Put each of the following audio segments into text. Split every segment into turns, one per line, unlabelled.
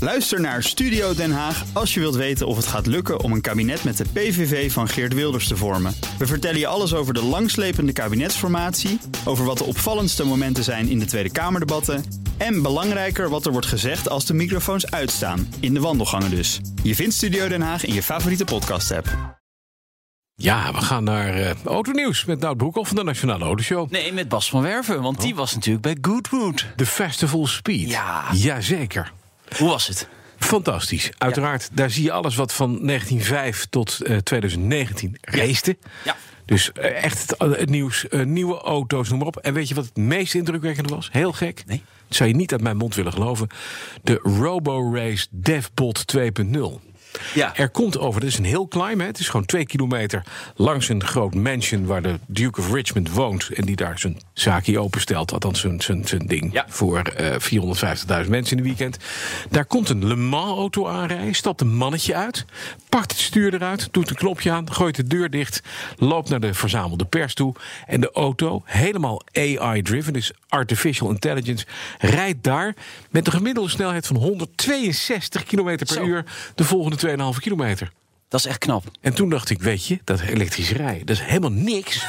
Luister naar Studio Den Haag als je wilt weten of het gaat lukken om een kabinet met de PVV van Geert Wilders te vormen. We vertellen je alles over de langslepende kabinetsformatie, over wat de opvallendste momenten zijn in de Tweede Kamerdebatten en belangrijker wat er wordt gezegd als de microfoons uitstaan, in de wandelgangen dus. Je vindt Studio Den Haag in je favoriete podcast-app.
Ja, we gaan naar eh autonieuws met Nout Broekhoff van de Nationale Autoshow.
Nee, met Bas van Werven, want
Oh.
die was natuurlijk bij Goodwood.
De Festival Speed.
Ja.
Jazeker.
Hoe was het?
Fantastisch. Uiteraard, daar zie je alles wat van 1905 tot eh, 2019 racete.
Ja.
Dus eh, echt het, eh, het nieuws, eh, nieuwe auto's, noem maar op. En weet je wat het meest indrukwekkende was? Heel gek.
Nee.
Dat zou je niet uit mijn mond willen geloven. De RoboRace DevBot 2.0.
Ja.
Er komt over, dit is een heel climb, hè. het is gewoon twee kilometer langs een groot mansion waar de Duke of Richmond woont. En die daar zijn zaakje openstelt, althans zijn, zijn, zijn ding
Ja.
voor eh, 450.000 mensen in een weekend. Daar komt een Le Mans-auto aanrijden, stapt een mannetje uit, pakt het stuur eruit, doet een knopje aan, gooit de deur dicht, loopt naar de verzamelde pers toe. En de auto, helemaal AI-driven, dus artificial intelligence, rijdt daar met een gemiddelde snelheid van 162 km per
Zo.
uur de volgende 2,5 kilometer.
Dat is echt knap.
En toen dacht ik, weet je, dat elektrisch rijden, dat is helemaal niks.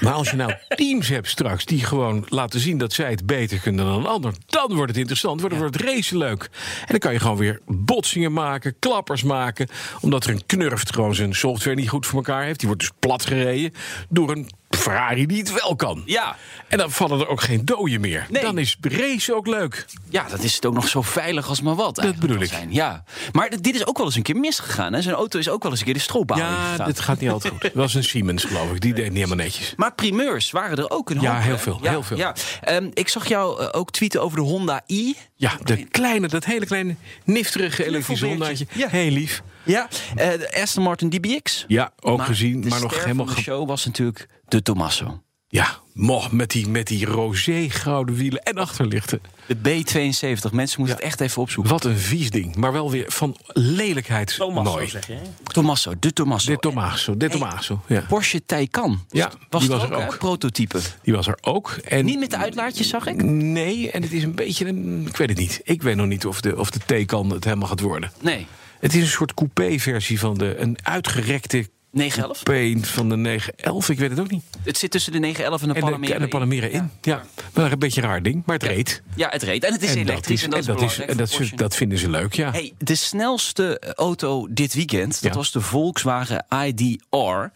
maar als je nou teams hebt straks die gewoon laten zien dat zij het beter kunnen dan een ander, dan wordt het interessant, wordt, wordt het racen leuk. En dan kan je gewoon weer botsingen maken, klappers maken, omdat er een knurft gewoon zijn software niet goed voor elkaar heeft. Die wordt dus plat gereden door een Ferrari die het wel kan.
Ja.
En dan vallen er ook geen doden meer.
Nee.
Dan is race ook leuk.
Ja, dat is het ook nog zo veilig als maar wat. eigenlijk
bedoel
kan
ik.
Zijn. Ja. Maar d- dit is ook wel eens een keer misgegaan. Hè? Zijn auto is ook wel eens een keer de stroopbouw
Ja,
ingegaan.
dit gaat niet altijd goed. Het was een Siemens, geloof ik. Die deed het niet helemaal netjes.
Maar primeurs waren er ook een hoop.
Ja,
hè?
heel veel, heel veel.
Ja. Ehm, ik zag jou eh, ook tweeten over de Honda i.
Ja, de kleine, dat hele kleine, nifterige elektrische
Knuffelbeertje.
hondaatje.
Ja.
Heel lief.
Ja. eh, de Aston Martin DBX.
Ja, ook gezien,
de
maar nog
ster
helemaal...
van de
ge-
show was natuurlijk de Tommaso.
Ja, mo, met die, met die rosé-gouden wielen en achterlichten.
De B72. Mensen moeten het echt even opzoeken.
Wat een vies ding, maar wel weer van lelijkheid
Thomas,
mooi.
zo zeg je. hè?
Tommaso, de Tommaso.
Dit Tomaso, dit Tomaso, ja.
Porsche Taycan.
Ja,
was,
die
het
was
ook,
er
hè?
ook.
prototype.
Die was er ook. En
Niet met de uitlaatjes, zag ik.
Nee, en het is een beetje een... Ik weet het niet. Ik weet nog niet of de, of de T-kan het helemaal gaat worden.
Nee,
Het is een soort coupé-versie van de... Een uitgerekte
911.
coupé van de 911. Ik weet het ook niet.
Het zit tussen de 911 en de
En de,
Panamera.
en de Panamera in. Ja, maar een beetje een raar ding, maar het reed.
Ja, het reed. En het is
en
elektrisch. en dat is,
dat,
belangrijk
en
voor
dat,
Porsche.
ze- dat vinden ze leuk, ja.
Hey, de snelste eh, auto dit weekend, dat
Ja.
was de Volkswagen ID.R.
Ja.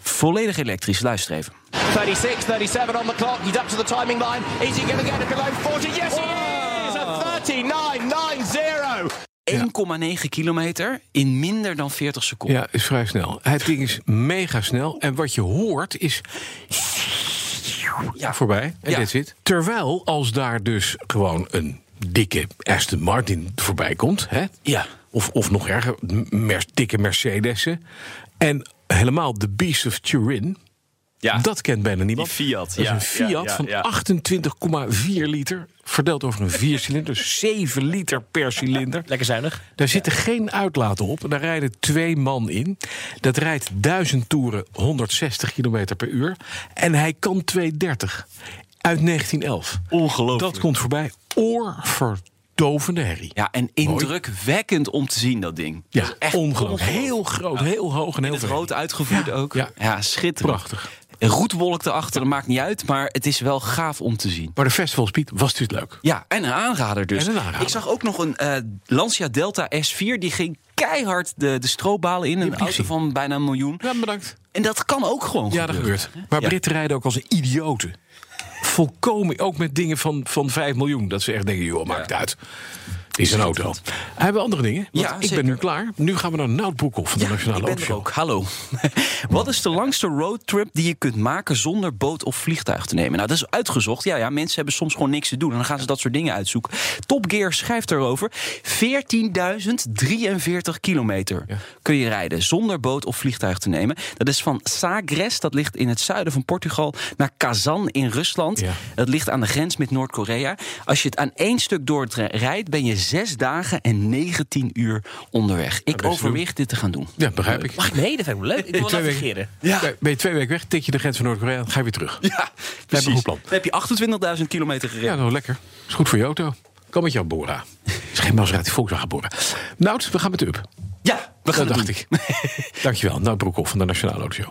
Volledig elektrisch, luister even.
36, 37 on the clock. He's up to the timing line. Is he going to get it below 40? Yes, he is! A 39.90.
1,9 kilometer in minder dan 40 seconden.
ja, is vrij snel. Het ding is mega snel. En wat je hoort is... Ja, voorbij. En
Ja.
dit zit. Terwijl als daar dus gewoon een dikke Aston Martin voorbij komt... Hè,
Ja.
of, of nog erger, m- mer- dikke Mercedes'en... en helemaal de Beast of Turin... Dat kent bijna niemand.
Die Fiat,
Dat is
ja,
een Fiat
ja, ja, ja.
van 28,4 liter. Verdeeld over een viercilinder. Dus 7 liter per cilinder.
Lekker zuinig.
Daar zitten geen uitlaten op. Daar rijden twee man in. Dat rijdt 1000 toeren 160 km per uur. En hij kan 230. Uit 1911.
Ongelooflijk.
Dat komt voorbij. Oorverdovende herrie.
Ja, en indrukwekkend om te zien, dat ding.
Ja,
Dat is echt
ongelooflijk. Heel groot, heel hoog en heel
Het
veel.
rood uitgevoerd ook. Ja,
Ja.
schitterend.
Prachtig.
Een roetwolk erachter, dat maakt niet uit, maar het is wel gaaf om te zien.
Maar de Festival Speed was dus leuk.
Ja, en een aanrader dus.
En een aanrader.
Ik zag ook nog een eh, Lancia Delta S4, die ging keihard de, de stroopbalen in. Een
ik
auto
gezien.
van bijna een miljoen.
Ja, bedankt.
En dat kan ook gewoon
Ja, dat gebeurt. Maar
Ja.
Britten rijden ook als een idioten. Volkomen, ook met dingen van, van 5 miljoen. Dat ze echt denken, joh, maakt het uit. Het is een auto. Hebben we andere dingen? Want
Ja,
ik
zeker.
ben nu klaar. Nu gaan we naar Nout Broekhoff van de Nationale
ik ben er
Autoshow.
ook. Hallo. Wat is de langste roadtrip die je kunt maken zonder boot of vliegtuig te nemen? Nou, dat is uitgezocht. Ja, ja, mensen hebben soms gewoon niks te doen. En dan gaan ze dat soort dingen uitzoeken. Top Gear schrijft erover. 14.043 kilometer kun je rijden zonder boot of vliegtuig te nemen. Dat is van Sagres, dat ligt in het zuiden van Portugal, naar Kazan in Rusland.
Ja.
Dat ligt aan de grens met Noord-Korea. Als je het aan één stuk doorrijdt, ben je zes dagen en 19 uur onderweg. Ik
doen.
overweeg dit te gaan doen.
Ja, begrijp ik.
Mag ik mee? Dat vind ik leuk. Ik wil
Twee weken.
navigeren.
Ja, Ben je twee weken weg, tik je de grens van Noord-Korea en ga je weer terug.
Ja,
Lijkt me een
precies.
goed
Dan
plan.
heb je 28.000 kilometer gereden.
Ja, nou lekker. Is goed voor je auto. Kom met jou, Bora. is geen Maserati, Volkswagen boren. Nout, we gaan met de up.
Ja, we gaan
Dat
het
dacht
doen.
ik. Dankjewel, Nout Broekhoff van de Nationale Autoshow.